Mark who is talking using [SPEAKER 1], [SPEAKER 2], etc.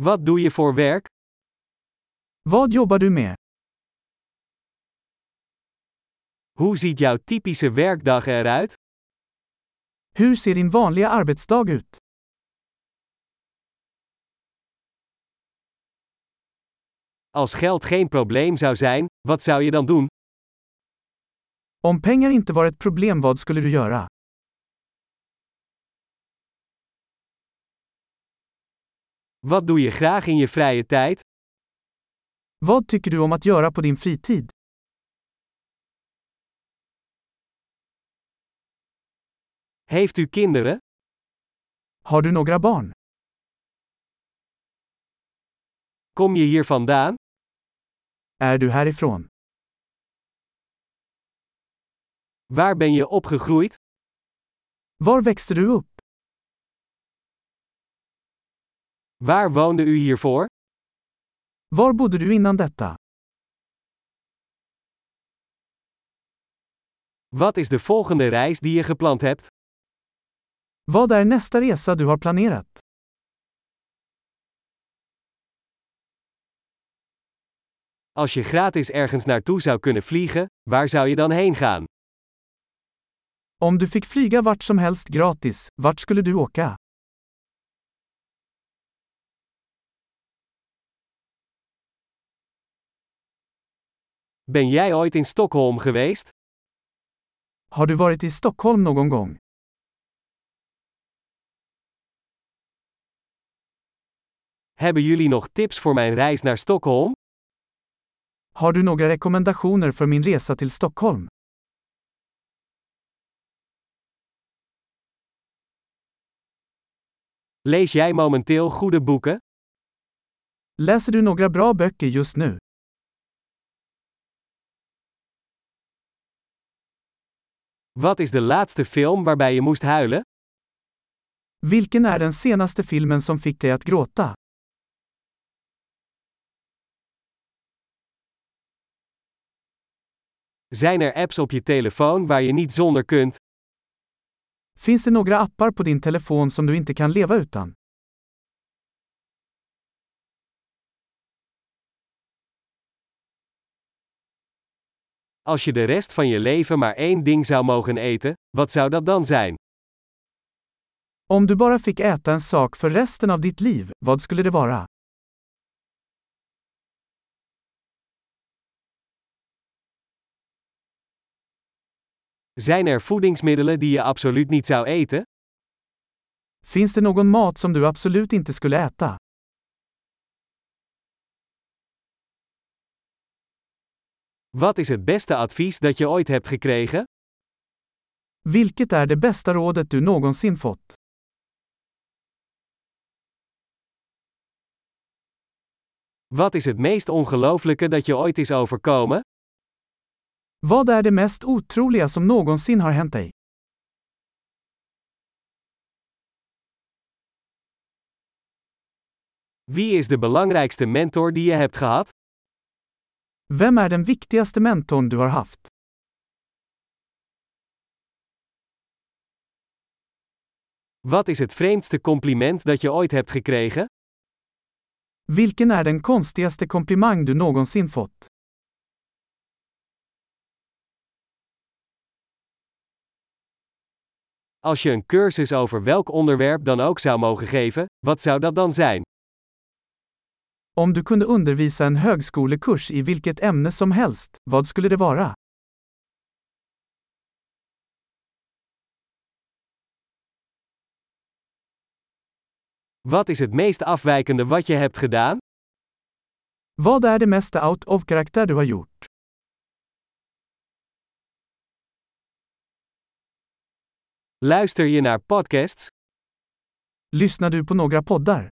[SPEAKER 1] Wat doe je voor werk?
[SPEAKER 2] Vad jobbar du med?
[SPEAKER 1] Hoe ziet jouw typische werkdag eruit?
[SPEAKER 2] Hur ser din vanliga arbetsdag ut?
[SPEAKER 1] Als geld geen probleem zou zijn, wat zou je dan doen?
[SPEAKER 2] Om pengar inte var ett problem vad skulle du göra?
[SPEAKER 1] Wat doe je graag in je vrije tijd?
[SPEAKER 2] Vad tycker du om att göra på din fritid?
[SPEAKER 1] Heeft u kinderen?
[SPEAKER 2] Har du några barn?
[SPEAKER 1] Kom je hier vandaan?
[SPEAKER 2] Är du härifrån?
[SPEAKER 1] Waar ben je opgegroeid?
[SPEAKER 2] Var växte du upp?
[SPEAKER 1] Waar woonde u hiervoor?
[SPEAKER 2] Var bodde du innan detta?
[SPEAKER 1] Wat is de volgende reis die je gepland hebt?
[SPEAKER 2] Vad är nästa resa du har planerat?
[SPEAKER 1] Als je gratis ergens naartoe zou kunnen vliegen, waar zou je dan heen gaan?
[SPEAKER 2] Om du fick flyga vart som helst gratis, vart skulle du åka?
[SPEAKER 1] Ben jij ooit in Stockholm geweest?
[SPEAKER 2] Har du varit i Stockholm någon gång?
[SPEAKER 1] Hebben jullie nog tips voor mijn reis naar Stockholm?
[SPEAKER 2] Har du några rekommendationer för min resa till Stockholm?
[SPEAKER 1] Lees jij momenteel goede boeken?
[SPEAKER 2] Läser du några bra böcker just nu?
[SPEAKER 1] Wat is de laatste film waarbij je moest huilen?
[SPEAKER 2] Vilken är den senaste filmen som fick dig att gråta?
[SPEAKER 1] Zijn er apps op je telefoon waar je niet zonder kunt?
[SPEAKER 2] Finns det några appar på din telefon som du inte kan leva utan?
[SPEAKER 1] Als je de rest van je leven maar één ding zou mogen eten, wat zou dat dan zijn?
[SPEAKER 2] Om du bara fick äta en sak för resten av ditt liv, vad skulle det vara?
[SPEAKER 1] Zijn er voedingsmiddelen die je absoluut niet zou eten?
[SPEAKER 2] Finns det någon mat som du absolut inte skulle äta?
[SPEAKER 1] Wat is het beste advies dat je ooit hebt gekregen?
[SPEAKER 2] Vilket är det bästa rådet du någonsin fått?
[SPEAKER 1] Wat is het meest ongelooflijke dat je ooit is overkomen?
[SPEAKER 2] Vad är det mest otroliga som någonsin har hänt dig?
[SPEAKER 1] Wie is de belangrijkste mentor die je hebt gehad?
[SPEAKER 2] Vem är den viktigaste mentorn du har haft?
[SPEAKER 1] Wat is het vreemdste compliment dat je ooit hebt gekregen?
[SPEAKER 2] Vilken är den konstigaste komplimang du någonsin fått?
[SPEAKER 1] Als je een cursus over welk onderwerp dan ook zou mogen geven, wat zou dat dan zijn?
[SPEAKER 2] Om du kunde undervisa en högskolekurs i vilket ämne som helst, vad skulle det vara?
[SPEAKER 1] Wat is het meest afwijkende wat je hebt gedaan?
[SPEAKER 2] Vad är det mesta out of karaktär du har gjort?
[SPEAKER 1] Luister je naar podcasts?
[SPEAKER 2] Lyssnar du på några poddar?